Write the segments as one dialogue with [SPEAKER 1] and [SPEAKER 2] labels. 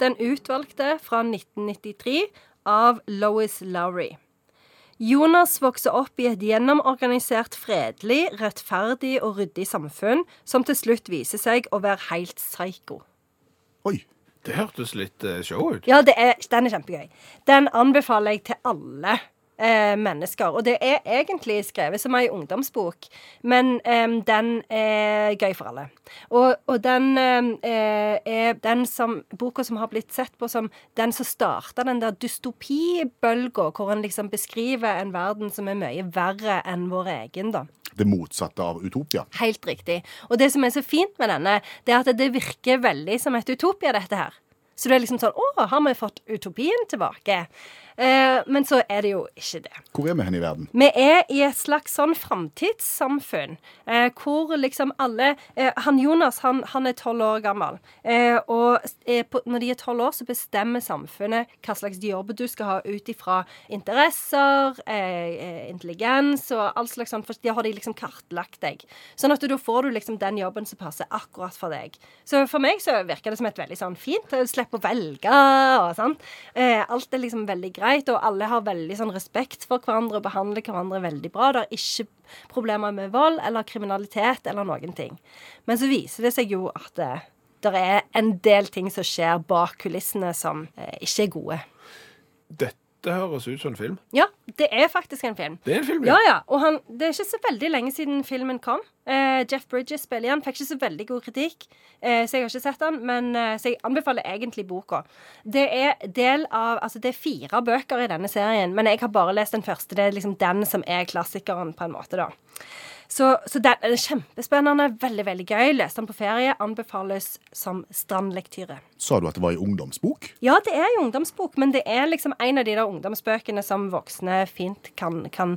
[SPEAKER 1] Den utvalgte fra 1993 av Lois Lowry. Jonas vokser opp i et gjennomorganisert, fredelig, rettferdig og ryddig samfunn, som til slutt viser seg å være helt psyko.
[SPEAKER 2] Oi.
[SPEAKER 3] Det hørtes litt eh, show ut.
[SPEAKER 1] Ja, det er, den er kjempegøy. Den anbefaler jeg til alle eh, mennesker. Og det er egentlig skrevet som ei ungdomsbok, men em, den er gøy for alle. Og, og den em, eh, er den som, boka som har blitt sett på som den som starta den der dystopibølga, hvor en liksom beskriver en verden som er mye verre enn vår egen, da.
[SPEAKER 2] Det motsatte av utopia.
[SPEAKER 1] Helt riktig. Og det som er så fint med denne, det er at det virker veldig som et utopia, dette her. Så det er liksom sånn Å, har vi fått utopien tilbake? Eh, men så er det jo ikke det.
[SPEAKER 2] Hvor er vi hen i verden?
[SPEAKER 1] Vi er i et slags sånn framtidssamfunn, eh, hvor liksom alle eh, Han Jonas, han, han er tolv år gammel, eh, og s- er på, når de er tolv år, så bestemmer samfunnet hva slags jobb du skal ha ut ifra interesser, eh, eh, intelligens og all slags sånn, for da har de liksom kartlagt deg. Sånn at du- da får du liksom den jobben som passer akkurat for deg. Så for meg så virker det som et veldig sånn fint Du slipper å velge og sånn. Eh, alt er liksom veldig greit, og alle har veldig sånn respekt for hverandre og behandler hverandre veldig bra. Det er ikke problemer med vold eller kriminalitet eller noen ting. Men så viser det seg jo at det, det er en del ting som skjer bak kulissene som eh, ikke er gode.
[SPEAKER 3] Dette høres ut som en film.
[SPEAKER 1] Ja, det er faktisk en film.
[SPEAKER 3] Det er en film,
[SPEAKER 1] Ja, ja. Og han, det er ikke så veldig lenge siden filmen kom. Eh, Jeff Bridges spiller i den. Fikk ikke så veldig god kritikk, eh, så jeg har ikke sett den. Men eh, så jeg anbefaler egentlig boka. Det er del av Altså, det er fire bøker i denne serien, men jeg har bare lest den første. Det er liksom den som er klassikeren, på en måte, da. Så, så den er kjempespennende. Veldig, veldig gøy. Leste den på ferie. Anbefales som strandlektyre.
[SPEAKER 2] Sa du at det var i ungdomsbok?
[SPEAKER 1] Ja, det er en ungdomsbok, men det er liksom en av de der ungdomsbøkene som voksne fint kan, kan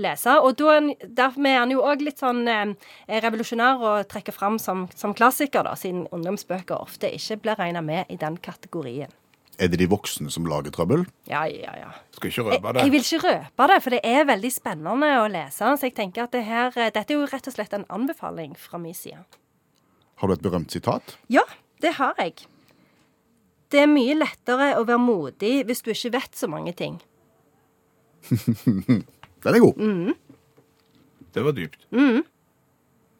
[SPEAKER 1] lese. Og da er den- dermed er han jo òg litt sånn eh, revolusjonær og trekker fram som, som klassiker, da, siden ungdomsbøker ofte ikke blir regna med i den kategorien.
[SPEAKER 2] Er det de voksne som lager trøbbel?
[SPEAKER 1] Ja, ja, ja.
[SPEAKER 3] Skal ikke
[SPEAKER 1] Jeg,
[SPEAKER 3] røpe det.
[SPEAKER 1] jeg vil ikke røpe det, for det er veldig spennende å lese. Så jeg tenker at det her, eh, dette er jo rett og slett en anbefaling fra min side.
[SPEAKER 2] Har du et berømt sitat?
[SPEAKER 1] Ja, det har jeg. Det er mye lettere å være modig hvis du ikke vet så mange ting.
[SPEAKER 2] Den er god.
[SPEAKER 1] Mm.
[SPEAKER 3] Det var dypt.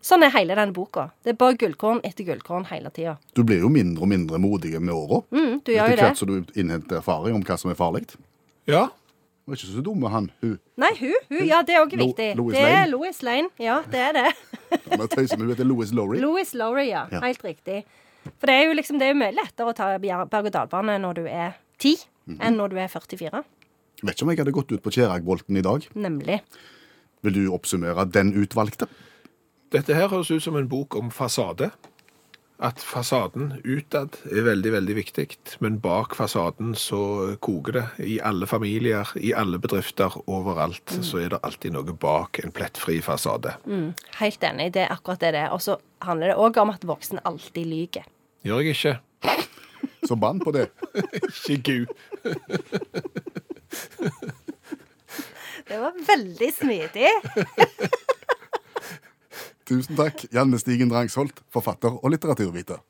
[SPEAKER 1] Sånn er hele denne boka. Det er bare gullkorn etter gullkorn hele tida.
[SPEAKER 2] Du blir jo mindre og mindre modig med åra.
[SPEAKER 1] Mm, du gjør jo
[SPEAKER 2] Etter
[SPEAKER 1] det.
[SPEAKER 2] hvert som du innhenter erfaring om hva som er farlig.
[SPEAKER 3] Ja.
[SPEAKER 2] Du er ikke så dum, han. Hun.
[SPEAKER 1] Nei, hun. hun ja, det er òg
[SPEAKER 2] Lo-
[SPEAKER 1] viktig.
[SPEAKER 2] Lois
[SPEAKER 1] det er
[SPEAKER 2] Lane.
[SPEAKER 1] Louis Lane. Ja, det er det.
[SPEAKER 2] Han er tøysen, men Hun heter Louis Lowry.
[SPEAKER 1] Louis Lowry, ja.
[SPEAKER 2] Ja.
[SPEAKER 1] Helt riktig. For det er jo liksom, det er jo mye lettere å ta bjer- berg-og-dal-bane når du er 10,
[SPEAKER 2] Mhm.
[SPEAKER 1] enn når du er 44.
[SPEAKER 2] Vet ikke om jeg hadde gått ut på Kjeragbolten i dag.
[SPEAKER 1] Nemlig.
[SPEAKER 2] Vil du oppsummere den utvalgte?
[SPEAKER 3] Dette her høres ut som en bok om fasade. At fasaden utad er veldig, veldig viktig, men bak fasaden så koker det. I alle familier, i alle bedrifter, overalt, så er det alltid noe bak en plettfri fasade.
[SPEAKER 1] Mm, helt enig. Det er akkurat det det er. Og så handler det òg om at voksne alltid lyver.
[SPEAKER 3] Gjør jeg ikke?
[SPEAKER 2] Så bann på det.
[SPEAKER 3] Ikke gud.
[SPEAKER 1] Det var veldig smidig.
[SPEAKER 2] Tusen takk, Janne Stigen Drangsholt, forfatter og litteraturviter.